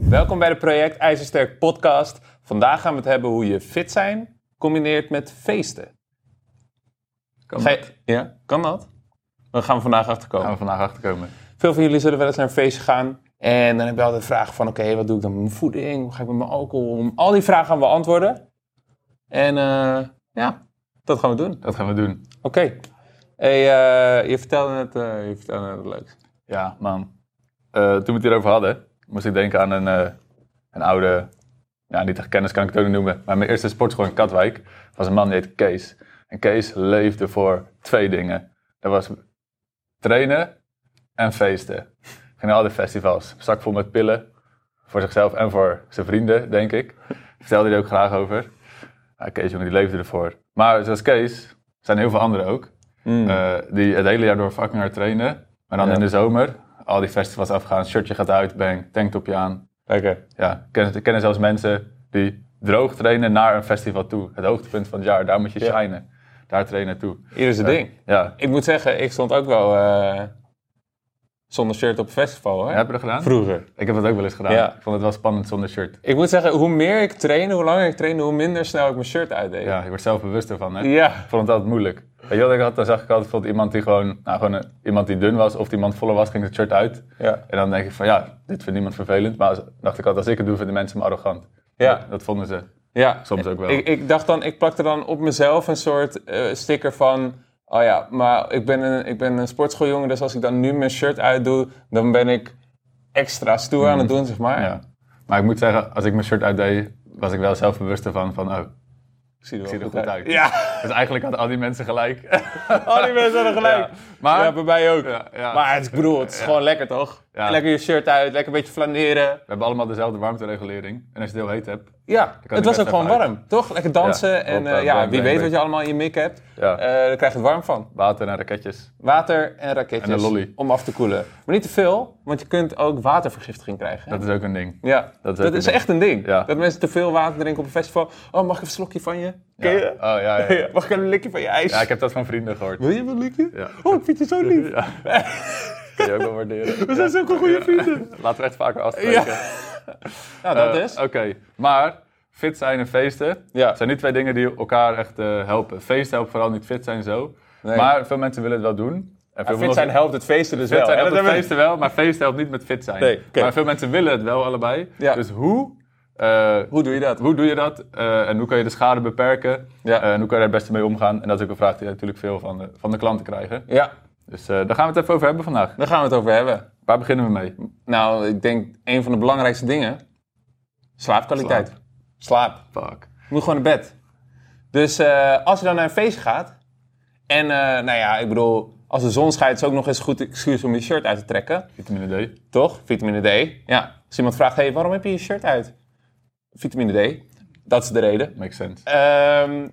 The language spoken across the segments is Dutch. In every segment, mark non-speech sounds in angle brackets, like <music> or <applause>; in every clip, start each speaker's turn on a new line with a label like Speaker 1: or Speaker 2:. Speaker 1: Welkom bij de Project IJzersterk podcast. Vandaag gaan we het hebben hoe je fit zijn combineert met feesten.
Speaker 2: Kan
Speaker 1: Ga je-
Speaker 2: dat?
Speaker 1: ja, kan dat? Daar gaan we vandaag achter komen.
Speaker 2: Gaan we vandaag achterkomen.
Speaker 1: Veel van jullie zullen wel eens naar een feestje gaan. En dan heb je altijd de vraag van, oké, wat doe ik dan met mijn voeding? Hoe ga ik met mijn alcohol om? Al die vragen gaan we beantwoorden. En eh, ja, dat gaan we doen.
Speaker 2: Dat gaan we doen.
Speaker 1: Oké. Hey, eh, je vertelde net, eh, je vertelde net wat leuks.
Speaker 2: Ja, man. Eh, toen we het hierover hadden, moest ik denken aan een, eh, een oude... Ja, niet echt kennis kan ik het ook niet noemen. Maar mijn eerste sportschool in Katwijk was een man die heet Kees. En Kees leefde voor twee dingen. Dat was trainen en feesten. Ging naar alle festivals. Zak vol met pillen. Voor zichzelf en voor zijn vrienden, denk ik. Vertelde hij er ook graag over. Ja, Kees, jongen, die leefde ervoor. Maar zoals Kees, zijn heel veel anderen ook. Eh, die het hele jaar door fucking hard trainen. Maar dan
Speaker 1: Mm. Ja.
Speaker 2: in de zomer, al die festivals afgaan, shirtje gaat uit, bang, tanktopje aan.
Speaker 1: Lekker.
Speaker 2: Ja, kennen, kennen zelfs mensen die droog trainen naar een festival toe. Het hoogtepunt van het jaar, daar moet je
Speaker 1: Ja.
Speaker 2: shinen. Daar trainen toe.
Speaker 1: Hier is het ding.
Speaker 2: Ja,
Speaker 1: Ik moet zeggen, ik stond ook wel eh, zonder shirt op het festival, hè?
Speaker 2: heb je dat gedaan?
Speaker 1: Vroeger.
Speaker 2: Ik heb dat ook wel eens gedaan.
Speaker 1: Ja.
Speaker 2: Ik vond het wel spannend zonder shirt.
Speaker 1: Ik moet zeggen, hoe meer ik train, hoe langer ik train, hoe minder snel ik mijn shirt uitdeed.
Speaker 2: Ja, je wordt zelf bewuster van, hè?
Speaker 1: Ja.
Speaker 2: Ik vond het altijd moeilijk. Weet je wat ik had? Dan zag ik altijd bijvoorbeeld iemand die gewoon, nou, gewoon een- iemand die dun was of die iemand voller was, ging het shirt uit.
Speaker 1: Ja.
Speaker 2: En dan denk ik van ja, dit vindt niemand vervelend. Maar als- dacht ik altijd, als ik het doe, vinden mensen me arrogant.
Speaker 1: Ja.
Speaker 2: Dat, dat vonden ze.
Speaker 1: Ja.
Speaker 2: Soms ook wel.
Speaker 1: Ik, ik dacht dan, ik plakte dan op mezelf een soort eh, sticker van... Oh ja, maar ik ben, een, ik ben een sportschooljongen, dus als ik dan nu mijn shirt uitdoe... dan ben ik extra stoer aan het doen, zeg maar.
Speaker 2: Mm. Ja. Maar ik moet zeggen, als ik mijn shirt uitdeed, was ik wel zelfbewust ervan van oh,
Speaker 1: Ik zie er, wel
Speaker 2: zie er goed uit.
Speaker 1: Ja,
Speaker 2: Dus eigenlijk hadden al die mensen gelijk.
Speaker 1: al die mensen hadden gelijk.
Speaker 2: Ja.
Speaker 1: Maar,
Speaker 2: <laughs> Maar-
Speaker 1: ja, bij mij ook.
Speaker 2: Ja, ja.
Speaker 1: Maar het, ik bedoel, het is gewoon lekker, toch?
Speaker 2: Ja.
Speaker 1: Lekker je shirt uit, lekker een beetje flaneren.
Speaker 2: We hebben allemaal dezelfde warmteregulering. En als je het heel heet hebt,
Speaker 1: Ja, het
Speaker 2: die
Speaker 1: was
Speaker 2: best
Speaker 1: ook gewoon
Speaker 2: even uit.
Speaker 1: warm, toch? Lekker dansen
Speaker 2: Ja,
Speaker 1: en
Speaker 2: op,
Speaker 1: eh,
Speaker 2: eh,
Speaker 1: ja, wie
Speaker 2: warm
Speaker 1: weet
Speaker 2: beenbeen.
Speaker 1: wat je allemaal in je mik hebt.
Speaker 2: Ja.
Speaker 1: Eh, daar krijg je het warm van.
Speaker 2: water en raketjes.
Speaker 1: Water en raketjes.
Speaker 2: En een lolly.
Speaker 1: Om af te koelen. Maar niet te veel, want je kunt ook watervergiftiging krijgen. hè?
Speaker 2: Dat is ook een ding.
Speaker 1: ja,
Speaker 2: dat is
Speaker 1: dat
Speaker 2: ook
Speaker 1: is
Speaker 2: een
Speaker 1: echt een ding.
Speaker 2: Ja.
Speaker 1: Dat mensen te veel water drinken op een festival. Oh, mag ik een slokje van je? Ken je <laughs>
Speaker 2: Ja.
Speaker 1: dat?
Speaker 2: Oh ja, ja, ja.
Speaker 1: Ja, Mag ik een likje van je ijs?
Speaker 2: Ja, ik heb dat van
Speaker 1: <laughs>
Speaker 2: vrienden gehoord.
Speaker 1: Wil je wel een likje?
Speaker 2: Ja.
Speaker 1: Oh, ik vind je zo lief.
Speaker 2: <laughs> Ja. Kun je ook wel waarderen.
Speaker 1: We zijn zulke goede vrienden.
Speaker 2: Laten we echt vaker afspreken.
Speaker 1: Nou, dat
Speaker 2: Eh,
Speaker 1: is.
Speaker 2: Oké, maar fit zijn en feesten
Speaker 1: Ja.
Speaker 2: zijn niet twee dingen die elkaar echt eh, helpen. Feesten helpt vooral niet fit zijn zo.
Speaker 1: Nee.
Speaker 2: Maar veel mensen willen het wel doen. En veel
Speaker 1: Fit zijn helpt het feesten dus
Speaker 2: fit
Speaker 1: wel.
Speaker 2: zijn
Speaker 1: hè?
Speaker 2: helpt
Speaker 1: Dat
Speaker 2: het
Speaker 1: hebben we-
Speaker 2: feesten wel, maar feesten helpt niet met fit zijn.
Speaker 1: Nee, oké.
Speaker 2: Maar veel mensen willen het wel allebei.
Speaker 1: Ja.
Speaker 2: Dus hoe, eh,
Speaker 1: Hoe doe je dat?
Speaker 2: hoe doe je dat eh, en hoe kan je de schade beperken?
Speaker 1: Ja.
Speaker 2: Eh, en hoe kan je daar het beste mee omgaan? En dat is ook een vraag die we natuurlijk veel van de, van de klanten krijgen.
Speaker 1: Ja,
Speaker 2: Dus eh, daar gaan we het even over hebben vandaag.
Speaker 1: daar gaan we het over hebben.
Speaker 2: Waar beginnen we mee?
Speaker 1: Nou, ik denk een van de belangrijkste dingen. Slaapkwaliteit. Slaap.
Speaker 2: Fuck.
Speaker 1: Je moet gewoon naar bed. Dus eh, als je dan naar een feestje gaat. En eh, nou ja, ik bedoel, als de zon schijnt is ook nog eens een goed excuus om je shirt uit te trekken.
Speaker 2: Vitamine D.
Speaker 1: Toch? Vitamine D. Ja. Als iemand vraagt, hey, waarom heb je je shirt uit? Vitamine D. Dat is de reden.
Speaker 2: Makes sense.
Speaker 1: Ehm,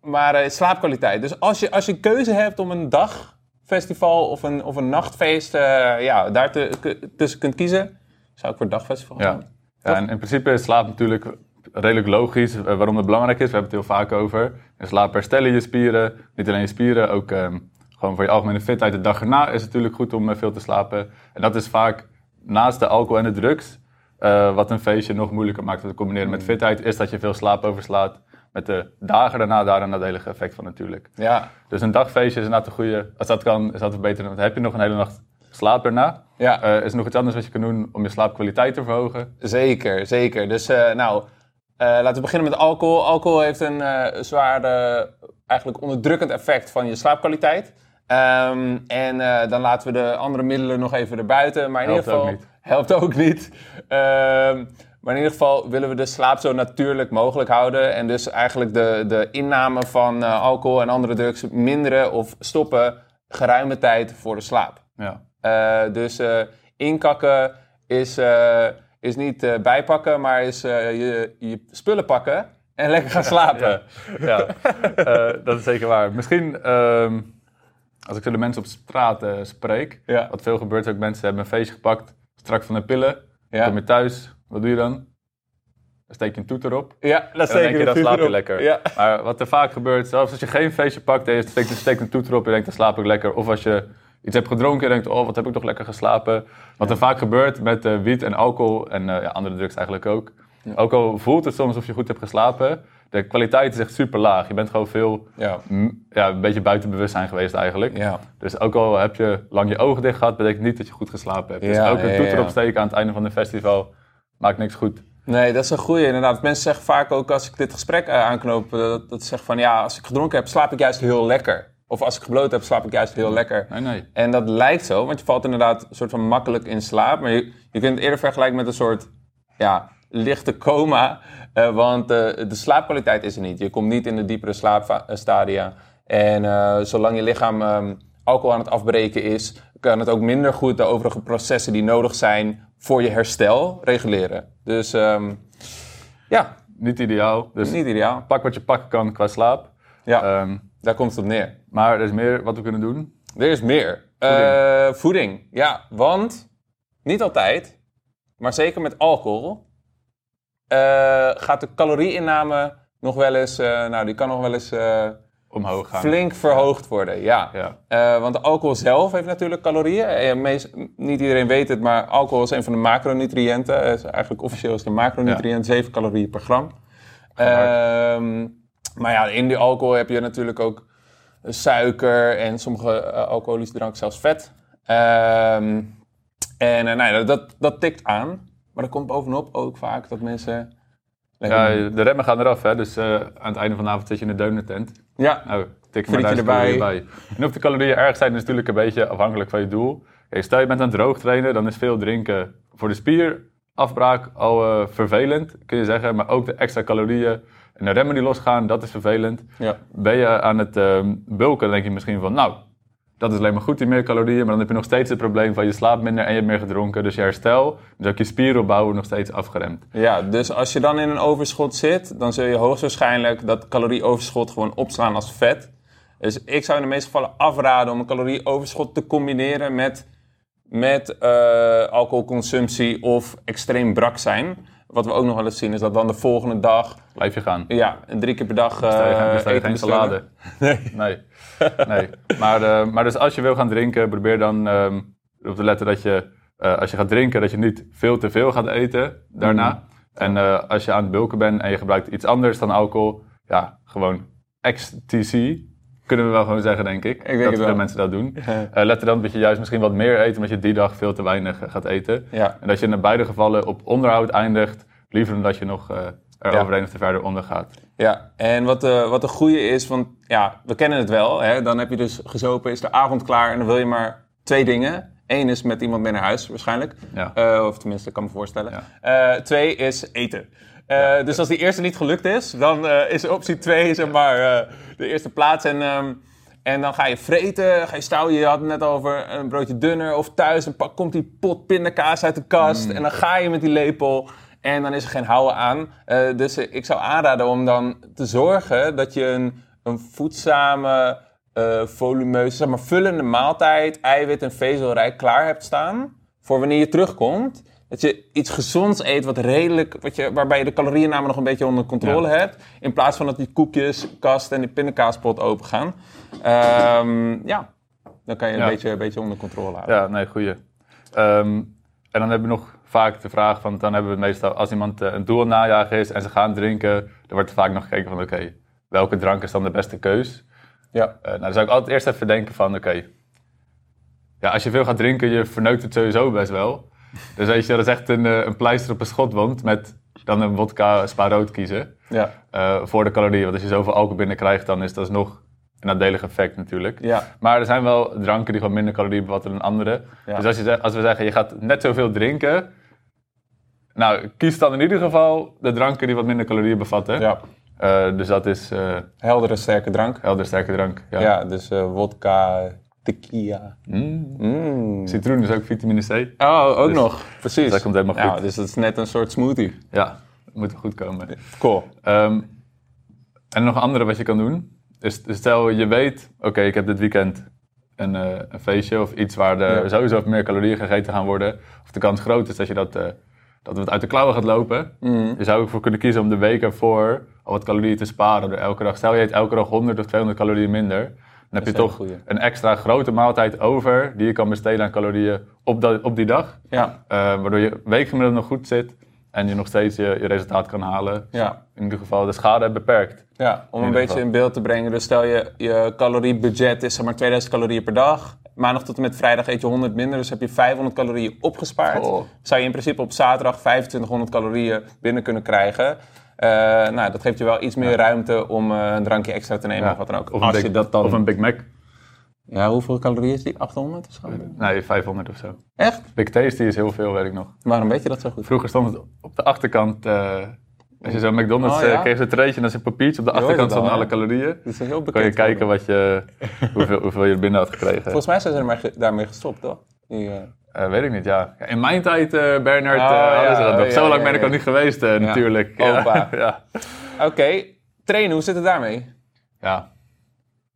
Speaker 1: maar eh, slaapkwaliteit. Dus als je, als je keuze hebt om een dagfestival of een, of een nachtfeest eh, ja, daar te, k- tussen kunt kiezen, zou ik voor het dagfestival gaan.
Speaker 2: Ja. ja, en in principe is slaap natuurlijk redelijk logisch eh, waarom het belangrijk is. We hebben het heel vaak over. In slaap herstellen je spieren. Niet alleen je spieren, ook ehm, gewoon voor je algemene fitheid. De dag erna is het natuurlijk goed om eh, veel te slapen. En dat is vaak naast de alcohol en de drugs. eh, wat een feestje nog moeilijker maakt om te combineren met fitheid, is dat je veel slaap overslaat. Met de dagen daarna daar een nadelige effect van natuurlijk.
Speaker 1: Ja,
Speaker 2: Dus een dagfeestje is inderdaad een goede. Als dat kan, is dat verbeteren. Want heb je nog een hele nacht slaap erna?
Speaker 1: Ja.
Speaker 2: Eh, is er nog iets anders wat je kan doen om je slaapkwaliteit te verhogen?
Speaker 1: zeker, zeker. Dus eh, nou, eh, laten we beginnen met alcohol. Alcohol heeft een eh zwaar, eh, eigenlijk onderdrukkend effect van je slaapkwaliteit. Ehm, en eh, dan laten we de andere middelen nog even erbuiten. Maar in
Speaker 2: Helpt
Speaker 1: ieder
Speaker 2: ook
Speaker 1: geval
Speaker 2: niet.
Speaker 1: helpt ook niet. Ehm, maar in ieder geval willen we de slaap zo natuurlijk mogelijk houden. En dus eigenlijk de, de inname van eh, alcohol en andere drugs minderen of stoppen geruime tijd voor de slaap.
Speaker 2: Ja.
Speaker 1: Eh, dus eh, inkakken is, eh, is niet eh, bijpakken, maar is eh, je, je spullen pakken en lekker gaan slapen.
Speaker 2: Ja, ja. Eh, dat is zeker waar. Misschien ehm, als ik zo de mensen op straat eh, spreek,
Speaker 1: Ja.
Speaker 2: wat veel gebeurt ook, mensen hebben een feestje gepakt, strak van de pillen,
Speaker 1: Ja.
Speaker 2: kom je thuis, wat doe je dan? Dan steek je een toeter op.
Speaker 1: Ja, dat
Speaker 2: En dan denk je, dan slaap je lekker.
Speaker 1: Ja.
Speaker 2: Maar wat er vaak gebeurt, zelfs als je geen feestje pakt en je steekt, steekt een toeter op, je denkt, dan slaap ik lekker. Of als je iets hebt gedronken en denkt, oh, wat heb ik toch lekker geslapen. Wat er vaak gebeurt met eh, wiet en alcohol en eh, ja, andere drugs eigenlijk ook. Alcohol voelt het soms of je goed hebt geslapen. De kwaliteit is echt super laag. Je bent gewoon veel,
Speaker 1: Ja.
Speaker 2: m, ja, een beetje buiten bewustzijn geweest eigenlijk.
Speaker 1: Ja.
Speaker 2: Dus ook al heb je lang je ogen dicht gehad, betekent niet dat je goed geslapen hebt. dus
Speaker 1: Ja,
Speaker 2: ook
Speaker 1: ja,
Speaker 2: een
Speaker 1: ja,
Speaker 2: toeter
Speaker 1: ja.
Speaker 2: opsteken aan het einde van een festival maakt niks goed.
Speaker 1: Nee, dat is een goeie inderdaad. Mensen zeggen vaak ook als ik dit gesprek eh, aanknoop, eh, dat, dat ze zeggen van ja, als ik gedronken heb, slaap ik juist heel lekker. Of als ik gebloot heb, slaap ik juist heel lekker.
Speaker 2: Nee, nee.
Speaker 1: En dat lijkt zo, want je valt inderdaad een soort van makkelijk in slaap. Maar je, je kunt het eerder vergelijken met een soort ja, lichte coma. eh, want eh, de slaapkwaliteit is er niet. Je komt niet in de diepere slaapstadia. En eh, zolang je lichaam ehm, alcohol aan het afbreken is, kan het ook minder goed de overige processen die nodig zijn voor je herstel reguleren. Dus ehm, ja,
Speaker 2: Niet ideaal. Dus
Speaker 1: niet ideaal.
Speaker 2: pak wat je pakken kan qua slaap.
Speaker 1: Ja,
Speaker 2: Ehm,
Speaker 1: daar komt het op neer.
Speaker 2: maar er is meer wat we kunnen doen.
Speaker 1: Er is meer. Eh, voeding. Ja, want niet altijd, maar zeker met alcohol, eh, gaat de calorieinname nog wel eens, eh, nou die kan nog wel eens eh,
Speaker 2: Omhoog gaan.
Speaker 1: flink verhoogd worden. Ja.
Speaker 2: Ja.
Speaker 1: Eh, want de alcohol zelf heeft natuurlijk calorieën. Eh, meest- niet iedereen weet het, maar alcohol is een van de macronutriënten. Eh, Is eigenlijk officieel is het een macronutriënt, 7 calorieën per gram. Ehm, maar ja, in die alcohol heb je natuurlijk ook suiker en sommige eh, alcoholische dranken zelfs vet. Ehm, en eh, nou, ja, dat, dat tikt aan. Maar er komt bovenop ook vaak dat mensen...
Speaker 2: Ja,
Speaker 1: lekker-
Speaker 2: de remmen gaan eraf, hè? dus eh, aan het einde van de avond zit je in de donutent.
Speaker 1: ja,
Speaker 2: Nou, tik maar
Speaker 1: Frietje
Speaker 2: duizend
Speaker 1: erbij.
Speaker 2: calorieën bij. En of de calorieën erg zijn is natuurlijk een beetje afhankelijk van je doel. Kijk, stel je bent aan het droog trainen, dan is veel drinken voor de spierafbraak al eh, vervelend, kun je zeggen. Maar ook de extra calorieën en de remmen die losgaan, dat is vervelend.
Speaker 1: ja.
Speaker 2: Ben je aan het ehm, bulken, dan denk je misschien van, nou, dat is alleen maar goed, die meer calorieën. Maar dan heb je nog steeds het probleem van je slaapt minder en je hebt meer gedronken. Dus je herstel, dus ook je spieropbouw wordt nog steeds afgeremd.
Speaker 1: Ja, dus als je dan in een overschot zit, dan zul je hoogstwaarschijnlijk dat calorieoverschot gewoon opslaan als vet. Dus ik zou in de meeste gevallen afraden om een calorieoverschot te combineren met, met eh, alcoholconsumptie of extreem brak zijn. Wat we ook nog wel eens zien is dat dan de volgende dag,
Speaker 2: Blijf je gaan.
Speaker 1: ja, drie keer per dag eh
Speaker 2: Bestel je geen- bestel je
Speaker 1: eten
Speaker 2: geen
Speaker 1: bestellen.
Speaker 2: salade. Nee. nee. Maar, eh, maar dus als je wil gaan drinken, probeer dan ehm, erop te letten dat je, eh, als je gaat drinken, dat je niet veel te veel gaat eten daarna.
Speaker 1: Mm.
Speaker 2: En eh, als je aan het bulken bent en je gebruikt iets anders dan alcohol, ja, gewoon XTC. Kunnen we wel gewoon zeggen, denk ik.
Speaker 1: denk
Speaker 2: dat
Speaker 1: het
Speaker 2: veel
Speaker 1: wel.
Speaker 2: mensen dat doen. Eh, let er dan dat je juist misschien wat meer eet, omdat je die dag veel te weinig eh, gaat eten.
Speaker 1: Ja.
Speaker 2: En dat je in beide gevallen op onderhoud eindigt, liever dan dat je nog eh er
Speaker 1: Ja.
Speaker 2: overheen of te verder onder gaat.
Speaker 1: Ja, en wat de, wat de goede is, want ja, we kennen het wel. Hè? Dan heb je dus gezopen, is de avond klaar en dan wil je maar twee dingen. Eén is met iemand mee naar huis, waarschijnlijk.
Speaker 2: Ja.
Speaker 1: Eh, of tenminste, ik kan me voorstellen. Eh, twee is eten. Eh, Dus als die eerste niet gelukt is, dan eh, is optie twee zeg maar, eh, de eerste plaats. En, ehm, en dan ga je vreten, ga je stouwen. Je had het net over een broodje dunner of thuis. Dan pak- komt die pot pindakaas uit de kast. En dan ga je met die lepel. En dan is er geen houden aan. Eh, dus eh, ik zou aanraden om dan te zorgen dat je een, een voedzame, eh, volumeuze, zeg maar vullende maaltijd, eiwit en vezelrijk klaar hebt staan. Voor wanneer je terugkomt. Dat je iets gezonds eet wat redelijk, wat je, waarbij je de calorieën namelijk nog een beetje onder controle hebt. In plaats van dat die koekjeskast en die pindakaaspot open gaan. Ehm, ja, dan kan je een,
Speaker 2: Ja.
Speaker 1: beetje, een beetje onder controle houden.
Speaker 2: Ja, nee, goeie. Ehm, en dan hebben we nog vaak de vraag, want dan hebben we meestal, als iemand eh, een doel aan het najagen is en ze gaan drinken, dan wordt er vaak nog gekeken van, oké, welke drank is dan de beste keus?
Speaker 1: Ja.
Speaker 2: Eh, nou, dan zou ik altijd eerst even denken van, oké, ja, als je veel gaat drinken, je verneukt het sowieso best wel. Dus weet je, dat is echt een, eh, een pleister op een schotwond met dan een wodka spa rood kiezen
Speaker 1: Ja.
Speaker 2: eh, voor de calorieën. Want als je zoveel alcohol binnenkrijgt, dan is dat nog een nadelig effect natuurlijk.
Speaker 1: Ja.
Speaker 2: Maar er zijn wel dranken die gewoon minder calorieën bevatten dan andere.
Speaker 1: Ja.
Speaker 2: Dus als, je, zegt- als we zeggen, je gaat net zoveel drinken... Nou, kies dan in ieder geval de dranken die wat minder calorieën bevatten.
Speaker 1: ja.
Speaker 2: Eh, dus dat is eh
Speaker 1: Heldere, sterke drank.
Speaker 2: helder sterke drank. Ja.
Speaker 1: Ja, dus eh wodka, tequila. Mm.
Speaker 2: Citroen is ook vitamine C.
Speaker 1: Oh, ook nog. Precies.
Speaker 2: dat komt helemaal
Speaker 1: Ja,
Speaker 2: goed.
Speaker 1: dus dat is net een soort smoothie.
Speaker 2: Ja, moet goed komen.
Speaker 1: Cool.
Speaker 2: Ehm, en nog een andere wat je kan doen. Is, is stel je weet, oké, ik heb dit weekend een, eh, een feestje of iets waar de,
Speaker 1: Ja.
Speaker 2: sowieso meer calorieën gegeten gaan worden. Of de kans groot is dat je dat, eh, dat het uit de klauwen gaat lopen.
Speaker 1: Mhm.
Speaker 2: Je zou ook voor kunnen kiezen om de weken voor al wat calorieën te sparen door elke dag. Stel je eet elke dag 100 of 200 calorieën minder. Dan heb je
Speaker 1: een hele
Speaker 2: toch
Speaker 1: goeie.
Speaker 2: een extra grote maaltijd over die je kan besteden aan calorieën op, dat, op die dag.
Speaker 1: Ja.
Speaker 2: Eh, waardoor je weekgemiddeld nog goed zit en je nog steeds je, je resultaat kan halen.
Speaker 1: Ja.
Speaker 2: In ieder geval de schade beperkt.
Speaker 1: Ja, om een
Speaker 2: ieder
Speaker 1: beetje
Speaker 2: geval.
Speaker 1: in beeld te brengen. Dus stel je, je caloriebudget is zeg maar 2000 calorieën per dag. Maandag tot en met vrijdag eet je 100 minder, dus heb je 500 calorieën opgespaard.
Speaker 2: Oh.
Speaker 1: Zou je in principe op zaterdag 2500 calorieën binnen kunnen krijgen. Eh, nou, dat geeft je wel iets meer ruimte om eh, een drankje extra te nemen of wat dan ook.
Speaker 2: Of een
Speaker 1: Als je
Speaker 2: Big-
Speaker 1: dat dan...
Speaker 2: Of een Big Mac.
Speaker 1: Ja, hoeveel calorieën is die? 800 of zo?
Speaker 2: Nee, 500 of zo.
Speaker 1: Echt?
Speaker 2: Big Tasty is heel veel, weet ik nog.
Speaker 1: Waarom weet je dat zo goed?
Speaker 2: Vroeger stond het op de achterkant. eh, als je zo'n McDonald's
Speaker 1: Oh,
Speaker 2: eh,
Speaker 1: ja?
Speaker 2: kreeg, zo'n treetje en dan een papiertje. Op de
Speaker 1: hoorde
Speaker 2: achterkant
Speaker 1: het al,
Speaker 2: stonden alle
Speaker 1: hè?
Speaker 2: calorieën.
Speaker 1: Dat is heel bekend.
Speaker 2: Kon je kijken
Speaker 1: geworden.
Speaker 2: wat
Speaker 1: <laughs>
Speaker 2: je, hoeveel, hoeveel je er binnen had gekregen.
Speaker 1: Volgens mij zijn ze er maar ge- daarmee gestopt, toch? Die, eh,
Speaker 2: Eh, weet ik niet, ja. Ja, In mijn tijd, eh Bernard,
Speaker 1: Oh,
Speaker 2: eh, hadden
Speaker 1: ja,
Speaker 2: ze dat nog.
Speaker 1: ja,
Speaker 2: Zo lang
Speaker 1: ja,
Speaker 2: ben ik
Speaker 1: ja.
Speaker 2: al niet geweest, eh, natuurlijk. <laughs> Ja.
Speaker 1: Opa.
Speaker 2: ja.
Speaker 1: Oké, trainen, hoe zit het daarmee?
Speaker 2: ja.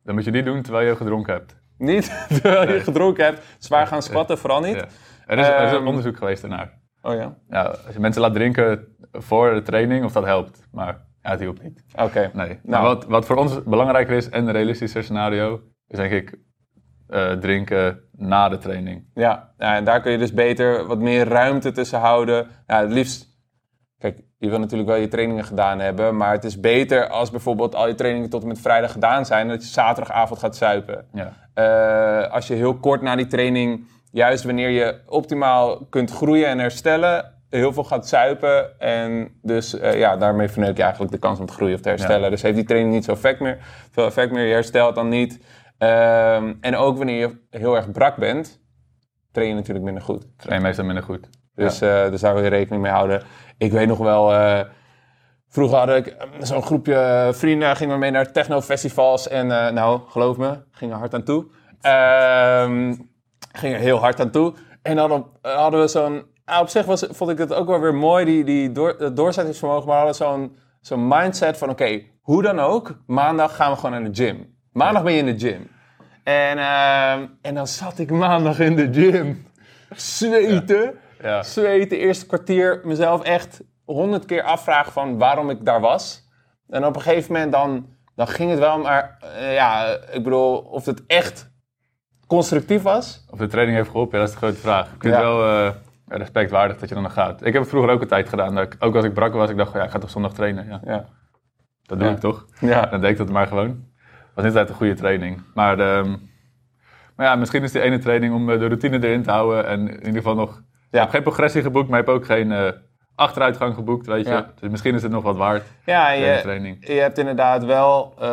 Speaker 2: Dan moet je die doen terwijl je gedronken hebt.
Speaker 1: Niet <laughs> terwijl je gedronken hebt. Zwaar gaan spatten, vooral niet.
Speaker 2: Ja. Er, is, er is
Speaker 1: Ehm.
Speaker 2: een onderzoek geweest daarnaar.
Speaker 1: Oh ja,
Speaker 2: Ja, als je mensen laat drinken voor de training, of dat helpt. Maar ja, het hielp niet.
Speaker 1: oké. Nou,
Speaker 2: Nee. Maar wat, wat voor ons belangrijker is en een realistischer scenario, is denk ik eh, drinken na de training.
Speaker 1: Ja, nou, en daar kun je dus beter wat meer ruimte tussen houden. Nou, het liefst... Kijk, je wil natuurlijk wel je trainingen gedaan hebben. Maar het is beter als bijvoorbeeld al je trainingen tot en met vrijdag gedaan zijn... dat je zaterdagavond gaat zuipen.
Speaker 2: Ja.
Speaker 1: Eh, als je heel kort na die training, juist wanneer je optimaal kunt groeien en herstellen, heel veel gaat zuipen. En dus eh, ja, daarmee verneuk je eigenlijk de kans om te groeien of te herstellen.
Speaker 2: Ja.
Speaker 1: Dus heeft die training niet zo effect meer, veel effect meer. Je herstelt dan niet. Ehm, en ook wanneer je heel erg brak bent, train je natuurlijk minder goed.
Speaker 2: Train meestal minder goed.
Speaker 1: Dus, eh, dus daar wil je rekening mee houden. Ik weet nog wel. eh, vroeger had ik eh, zo'n groepje eh, vrienden. Gingen we mee naar technofestivals. En eh, nou, geloof me, gingen hard aan toe. Ehm gingen heel hard aan toe. En dan op- eh, hadden we zo'n. ah, op zich was, vond ik het ook wel weer mooi, die, die door, dat doorzettingsvermogen. Maar we hadden zo'n zo'n mindset van: oké, hoe dan ook, maandag gaan we gewoon naar de gym. Maandag ben je in de gym. En, ehm, en dan zat ik maandag in de gym. Zweten
Speaker 2: Ja.
Speaker 1: zweten, eerste kwartier mezelf echt honderd keer afvragen van waarom ik daar was. En op een gegeven moment dan, dan ging het wel, maar eh, ja, ik bedoel, of het echt constructief was.
Speaker 2: Of de training heeft geholpen, ja, dat is de grote vraag. Ik vind
Speaker 1: Ja.
Speaker 2: het wel eh, respectwaardig dat je dan nog gaat. Ik heb het vroeger ook een tijd gedaan. Dat ik, ook als ik brak was, ik dacht, oh ja, ik ga toch zondag trainen. Ja,
Speaker 1: Ja.
Speaker 2: dat doe
Speaker 1: Ja.
Speaker 2: ik toch?
Speaker 1: Ja.
Speaker 2: Dan deed ik dat maar gewoon. Was niet altijd een goede training. Maar, ehm, maar ja, misschien is die ene training om eh, de routine erin te houden. En in ieder geval nog... Ik heb geen progressie geboekt, maar ik heb ook geen eh, achteruitgang geboekt, weet je.
Speaker 1: Ja.
Speaker 2: Dus misschien is het nog wat waard,
Speaker 1: ja,
Speaker 2: de
Speaker 1: je,
Speaker 2: training.
Speaker 1: je hebt inderdaad wel, eh,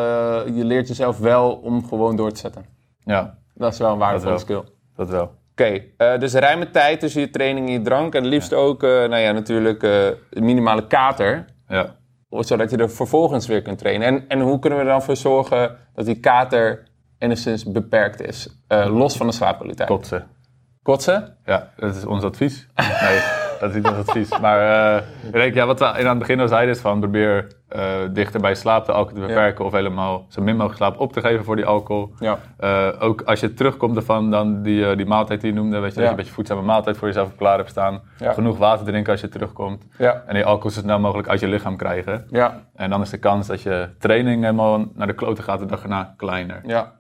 Speaker 1: je leert jezelf wel om gewoon door te zetten.
Speaker 2: Ja,
Speaker 1: Dat is wel een waardevolle
Speaker 2: Dat
Speaker 1: skill.
Speaker 2: wel. dat wel.
Speaker 1: Oké, eh, dus ruime tijd tussen je training en je drank. En liefst ook, eh, nou ja, natuurlijk eh, minimale kater.
Speaker 2: Ja.
Speaker 1: zodat je er vervolgens weer kunt trainen. En, en hoe kunnen we er dan voor zorgen dat die kater enigszins beperkt is? Eh, los van de slaapkwaliteit.
Speaker 2: Kotsen.
Speaker 1: Kotsen?
Speaker 2: Ja, dat is ons
Speaker 1: <laughs>
Speaker 2: advies. Nee, dat is niet ons advies. Maar eh ik denk, ja, wat we in aan het begin al zeiden is van probeer eh, dichter bij slaap de alcohol te beperken of helemaal zo min mogelijk slaap op te geven voor die alcohol.
Speaker 1: Ja.
Speaker 2: Eh, ook als je terugkomt ervan, dan die, eh, die maaltijd die je noemde, weet je, dat
Speaker 1: Ja.
Speaker 2: je een beetje voedzame maaltijd voor jezelf op klaar hebt staan.
Speaker 1: Ja.
Speaker 2: Genoeg water drinken als je terugkomt.
Speaker 1: Ja.
Speaker 2: En die alcohol zo snel mogelijk uit je lichaam krijgen.
Speaker 1: Ja.
Speaker 2: En dan is de kans dat je training helemaal naar de kloten gaat de dag erna kleiner.
Speaker 1: Ja.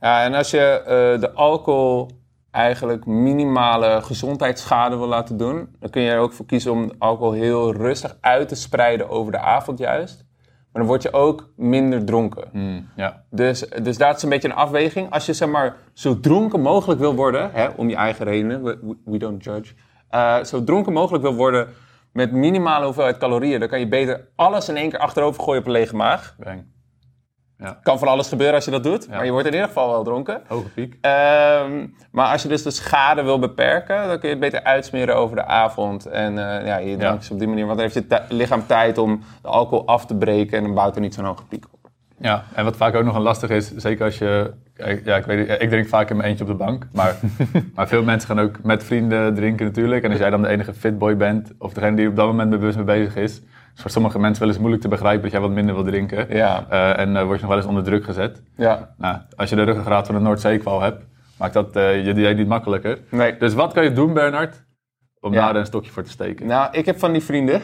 Speaker 1: ja en als je eh, de alcohol eigenlijk minimale gezondheidsschade wil laten doen, dan kun je er ook voor kiezen om de alcohol heel rustig uit te spreiden over de avond juist. Maar dan word je ook minder dronken.
Speaker 2: Hmm, ja.
Speaker 1: Dus, dus dat is een beetje een afweging. Als je zeg maar zo dronken mogelijk wil worden, hè, om je eigen redenen, we, we- we don't judge. eh, zo dronken mogelijk wil worden met minimale hoeveelheid calorieën, dan kan je beter alles in één keer achterover gooien op een lege maag.
Speaker 2: Bang.
Speaker 1: Kan van alles gebeuren als je dat doet, maar je wordt in ieder geval wel dronken.
Speaker 2: Hoge piek.
Speaker 1: Ehm, maar als je dus de schade wil beperken, dan kun je het beter uitsmeren over de avond. En eh, ja, je drank is op die manier, want dan heeft je ti- lichaam tijd om de alcohol af te breken en dan bouwt er niet zo'n hoge piek op.
Speaker 2: Ja, en wat vaak ook nog een lastig is, zeker als je... eh, Ja, ik, weet, niet, ik drink vaak in mijn eentje op de bank,
Speaker 1: <laughs>
Speaker 2: maar, maar veel mensen gaan ook met vrienden drinken natuurlijk. En als jij dan de enige fitboy bent, of degene die er op dat moment bewust mee bezig is, is voor sommige mensen wel eens moeilijk te begrijpen dat jij wat minder wil drinken.
Speaker 1: Ja.
Speaker 2: Eh, en eh, word je nog wel eens onder druk gezet.
Speaker 1: Ja,
Speaker 2: Nou, als je de ruggengraat van de Noordzeekwal hebt, maakt dat eh, je dieet niet makkelijker.
Speaker 1: nee.
Speaker 2: Dus wat kan je doen, Bernard, om
Speaker 1: Ja.
Speaker 2: daar een stokje voor te steken?
Speaker 1: Nou, ik heb van die vrienden.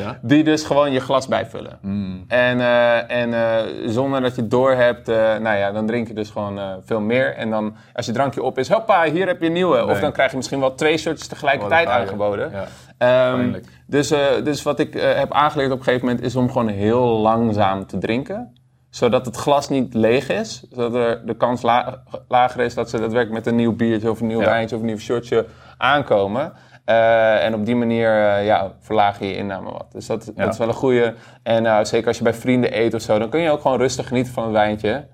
Speaker 2: Ja.
Speaker 1: Die dus gewoon je glas bijvullen.
Speaker 2: Mm.
Speaker 1: En, eh, en eh, zonder dat je het door hebt, eh, nou ja, dan drink je dus gewoon eh, veel meer. En dan als je drankje op is, hoppa, hier heb je een nieuwe. Of
Speaker 2: Nee.
Speaker 1: dan krijg je misschien wel twee shirts tegelijkertijd
Speaker 2: Wat een
Speaker 1: aangeboden.
Speaker 2: Ja.
Speaker 1: Ehm,
Speaker 2: Pijnlijk.
Speaker 1: dus, eh, dus wat ik eh, heb aangeleerd op een gegeven moment is om gewoon heel langzaam te drinken. Zodat het glas niet leeg is. Zodat er de kans la- lager is dat ze daadwerkelijk met een nieuw biertje of een nieuw
Speaker 2: Ja.
Speaker 1: wijntje of een nieuw shirtje aankomen. Eh, en op die manier eh, ja, verlaag je je inname wat. Dus dat,
Speaker 2: Ja.
Speaker 1: dat is wel een goede. En nou, zeker als je bij vrienden eet of zo, dan kun je ook gewoon rustig genieten van het wijntje.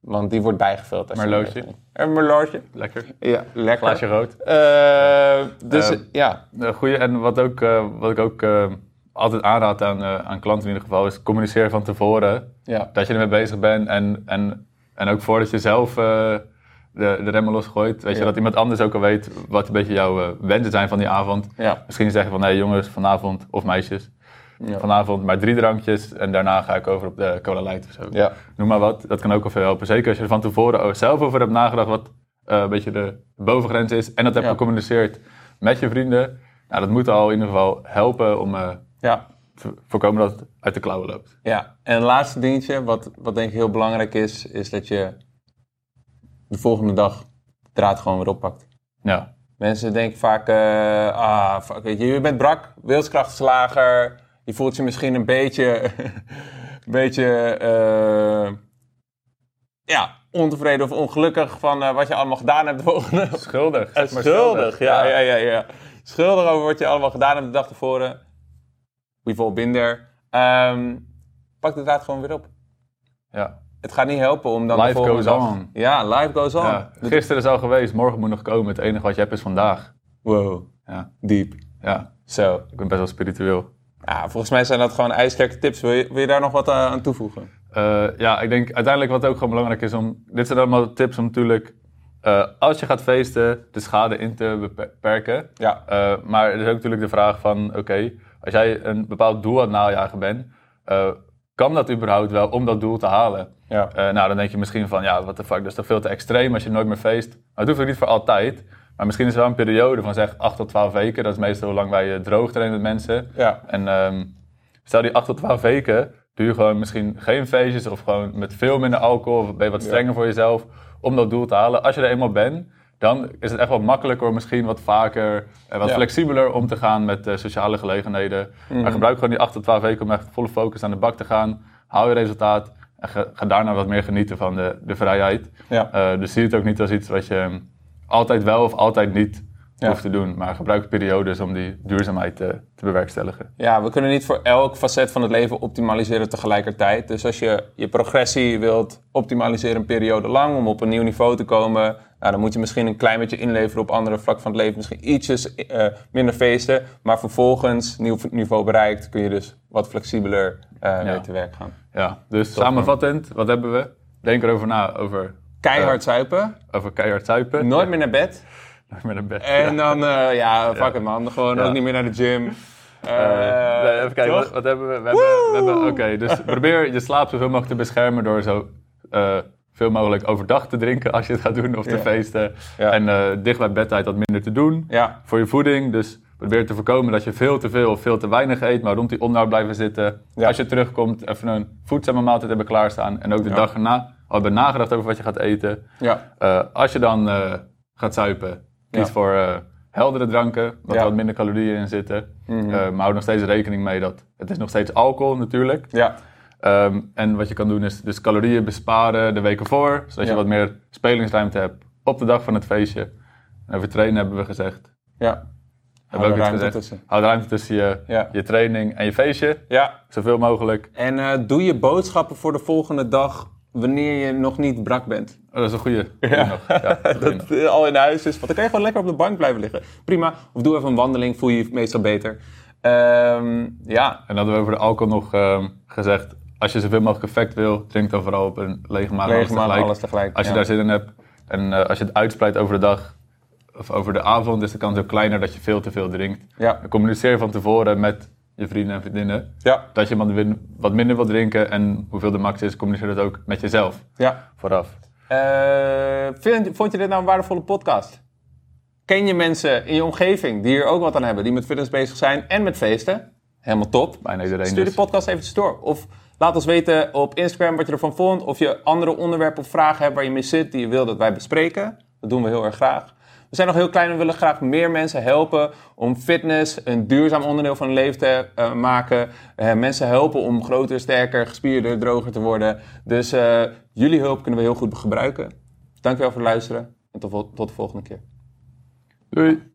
Speaker 1: Want die wordt bijgevuld. als je
Speaker 2: Merlotje.
Speaker 1: meegaat. Een merlootje.
Speaker 2: Lekker.
Speaker 1: Ja, lekker.
Speaker 2: Glaasje rood.
Speaker 1: Eh, dus
Speaker 2: Eh,
Speaker 1: ja,
Speaker 2: Eh, goeie. En wat, ook, eh, wat ik ook eh, altijd aanraad aan, eh, aan klanten in ieder geval, is communiceer van tevoren
Speaker 1: ja.
Speaker 2: dat je ermee bezig bent. En, en, en ook voordat je zelf eh, de, de remmen losgooit, weet
Speaker 1: Ja.
Speaker 2: je, dat iemand anders ook al weet wat een beetje jouw eh, wensen zijn van die avond.
Speaker 1: ja.
Speaker 2: Misschien zeggen van, hé jongens, vanavond, of meisjes,
Speaker 1: Ja.
Speaker 2: vanavond maar drie drankjes en daarna ga ik over op de cola light of zo.
Speaker 1: Ja,
Speaker 2: Noem maar wat, dat kan ook al veel helpen. Zeker als je er van tevoren ook zelf over hebt nagedacht wat eh, een beetje de bovengrens is en dat hebt
Speaker 1: Ja.
Speaker 2: gecommuniceerd met je vrienden. Nou, dat moet al in ieder geval helpen om eh,
Speaker 1: ja.
Speaker 2: te voorkomen dat het uit de klauwen loopt.
Speaker 1: ja. En het laatste dingetje, wat, wat denk ik heel belangrijk is, is dat je de volgende dag de draad gewoon weer oppakt.
Speaker 2: Ja,
Speaker 1: Mensen denken vaak, eh, ah, fuck, weet je, je bent brak, wilskracht is lager, je voelt je misschien een beetje, <laughs> een beetje eh, ja, ontevreden of ongelukkig van eh, wat je allemaal gedaan hebt de volgende,
Speaker 2: schuldig. zeg maar
Speaker 1: Eh, schuldig, ja, ja, ja, ja. Schuldig over wat je allemaal gedaan hebt de dag tevoren. We've all been there. Ehm, pak de draad gewoon weer op.
Speaker 2: Ja.
Speaker 1: Het gaat niet helpen om dan de
Speaker 2: Life
Speaker 1: volgende
Speaker 2: goes
Speaker 1: dag-
Speaker 2: on.
Speaker 1: Ja, life goes on.
Speaker 2: Ja. Gisteren is al geweest, morgen moet nog komen. Het enige wat je hebt is vandaag.
Speaker 1: Wow,
Speaker 2: Ja,
Speaker 1: diep.
Speaker 2: ja.
Speaker 1: Zo.
Speaker 2: ik ben best wel spiritueel.
Speaker 1: Ja, volgens mij zijn dat gewoon ijssterke tips. Wil je, wil je daar nog wat eh, aan toevoegen?
Speaker 2: Eh, ja, ik denk uiteindelijk wat ook gewoon belangrijk is om. Dit zijn allemaal tips om natuurlijk. eh, als je gaat feesten, de schade in te beperken.
Speaker 1: Ja.
Speaker 2: Eh, maar er is ook natuurlijk de vraag van: oké, als jij een bepaald doel aan het najagen bent, eh, kan dat überhaupt wel om dat doel te halen?
Speaker 1: Ja.
Speaker 2: Eh, nou, dan denk je misschien van: ja, wat de fuck, dat is toch veel te extreem als je nooit meer feest. Maar het hoeft ook niet voor altijd. Maar misschien is er wel een periode van zeg 8 tot 12 weken. Dat is meestal hoe lang wij eh, droog trainen met mensen.
Speaker 1: Ja.
Speaker 2: En ehm, stel die 8 tot 12 weken, doe je gewoon misschien geen feestjes of gewoon met veel minder alcohol of ben je wat strenger voor jezelf om dat doel te halen. Als je er eenmaal bent, dan is het echt wat makkelijker, misschien wat vaker en wat
Speaker 1: Ja. Mhm.
Speaker 2: flexibeler om te gaan met eh, sociale gelegenheden. Maar gebruik gewoon die 8 tot 12 weken om echt volle focus aan de bak te gaan. Haal je resultaat en ge- ga daarna wat meer genieten van de, de vrijheid.
Speaker 1: Ja.
Speaker 2: Eh, dus zie het ook niet als iets wat je ehm, altijd wel of altijd niet
Speaker 1: Ja.
Speaker 2: hoeft te doen. Maar gebruik periodes om die duurzaamheid eh, te bewerkstelligen.
Speaker 1: Ja, we kunnen niet voor elk facet van het leven optimaliseren tegelijkertijd. Dus als je je progressie wilt optimaliseren een periode lang om op een nieuw niveau te komen, nou, dan moet je misschien een klein beetje inleveren op andere vlakken van het leven. Misschien ietsjes eh, minder feesten, maar vervolgens, nieuw niveau bereikt, kun je dus wat flexibeler eh mee te werk gaan.
Speaker 2: Ja, dus samenvattend, wat hebben we? Denk erover na over,
Speaker 1: Keihard zuipen,
Speaker 2: over keihard zuipen.
Speaker 1: nooit meer naar bed.
Speaker 2: <laughs> Met een bed.
Speaker 1: En
Speaker 2: Ja.
Speaker 1: dan, eh, ja, fuck it man, gewoon ook niet meer naar de gym.
Speaker 2: Eh, nee, even kijken, wat,
Speaker 1: toch?
Speaker 2: wat hebben we? We hebben, we hebben- Oké,
Speaker 1: <laughs>
Speaker 2: dus probeer je slaap zoveel mogelijk te beschermen door zo eh, veel mogelijk overdag te drinken als je het gaat doen of te
Speaker 1: Ja.
Speaker 2: feesten.
Speaker 1: Ja.
Speaker 2: En eh, dicht bij bedtijd wat minder te doen.
Speaker 1: Ja.
Speaker 2: Voor je voeding, dus probeer te voorkomen dat je veel te veel of veel te weinig eet, maar rond die onderhoud blijven zitten.
Speaker 1: Ja.
Speaker 2: Als je terugkomt, even een voedzame maaltijd hebben klaarstaan. En ook de dag erna al hebben nagedacht over wat je gaat eten.
Speaker 1: Ja,
Speaker 2: Eh, als je dan eh, gaat zuipen, kies
Speaker 1: Ja.
Speaker 2: voor eh, heldere dranken, waar
Speaker 1: Ja. Mhm.
Speaker 2: wat minder calorieën in zitten. Eh, maar hou nog steeds rekening mee dat het is nog steeds alcohol natuurlijk.
Speaker 1: ja,
Speaker 2: Ehm, en wat je kan doen is dus calorieën besparen de weken voor, zodat
Speaker 1: Ja.
Speaker 2: je wat meer spelingsruimte hebt op de dag van het feestje. En over trainen hebben we gezegd.
Speaker 1: ja.
Speaker 2: Hebben we ook iets
Speaker 1: ruimte
Speaker 2: gezegd.
Speaker 1: tussen.
Speaker 2: Houd ruimte tussen je,
Speaker 1: Ja.
Speaker 2: je training en je feestje.
Speaker 1: Ja,
Speaker 2: Zoveel mogelijk.
Speaker 1: En eh, doe je boodschappen voor de volgende dag wanneer je nog niet brak bent.
Speaker 2: Oh, dat is een goede. Ja.
Speaker 1: <laughs>
Speaker 2: Ja, goeie nog.
Speaker 1: Dat eh, al in huis is. Want dan kan je gewoon lekker op de bank blijven liggen. Prima. Of doe even een wandeling, voel je je meestal beter. Ehm, ja,
Speaker 2: En hadden we over de alcohol nog ehm, gezegd. Als je zoveel mogelijk effect wil, drink dan vooral op een lege maag.
Speaker 1: Lege maag,
Speaker 2: alles tegelijk.
Speaker 1: alles tegelijk,
Speaker 2: Als je
Speaker 1: ja.
Speaker 2: daar zin in hebt. En eh, als je het uitspreidt over de dag of over de avond, is de kans ook kleiner dat je veel te veel drinkt.
Speaker 1: Ja.
Speaker 2: En Communiceer van tevoren met je vrienden en vriendinnen.
Speaker 1: ja,
Speaker 2: Dat je wat win- wat minder wil drinken en hoeveel de max is, communiceer dat ook met jezelf
Speaker 1: ja.
Speaker 2: vooraf.
Speaker 1: Eh, vind, vond je dit nou een waardevolle podcast? Ken je mensen in je omgeving die hier ook wat aan hebben, die met fitness bezig zijn en met feesten? Helemaal top.
Speaker 2: Bijna iedereen
Speaker 1: Stuur de
Speaker 2: dus.
Speaker 1: podcast eventjes door. Of laat ons weten op Instagram wat je ervan vond. Of je andere onderwerpen of vragen hebt waar je mee zit die je wil dat wij bespreken. Dat doen we heel erg graag. We zijn nog heel klein en we willen graag meer mensen helpen om fitness een duurzaam onderdeel van hun leven te eh, maken. Eh, mensen helpen om groter, sterker, gespierder, droger te worden. Dus eh, jullie hulp kunnen we heel goed gebruiken. Dankjewel voor het luisteren en tot, vol- tot de volgende keer.
Speaker 2: Doei!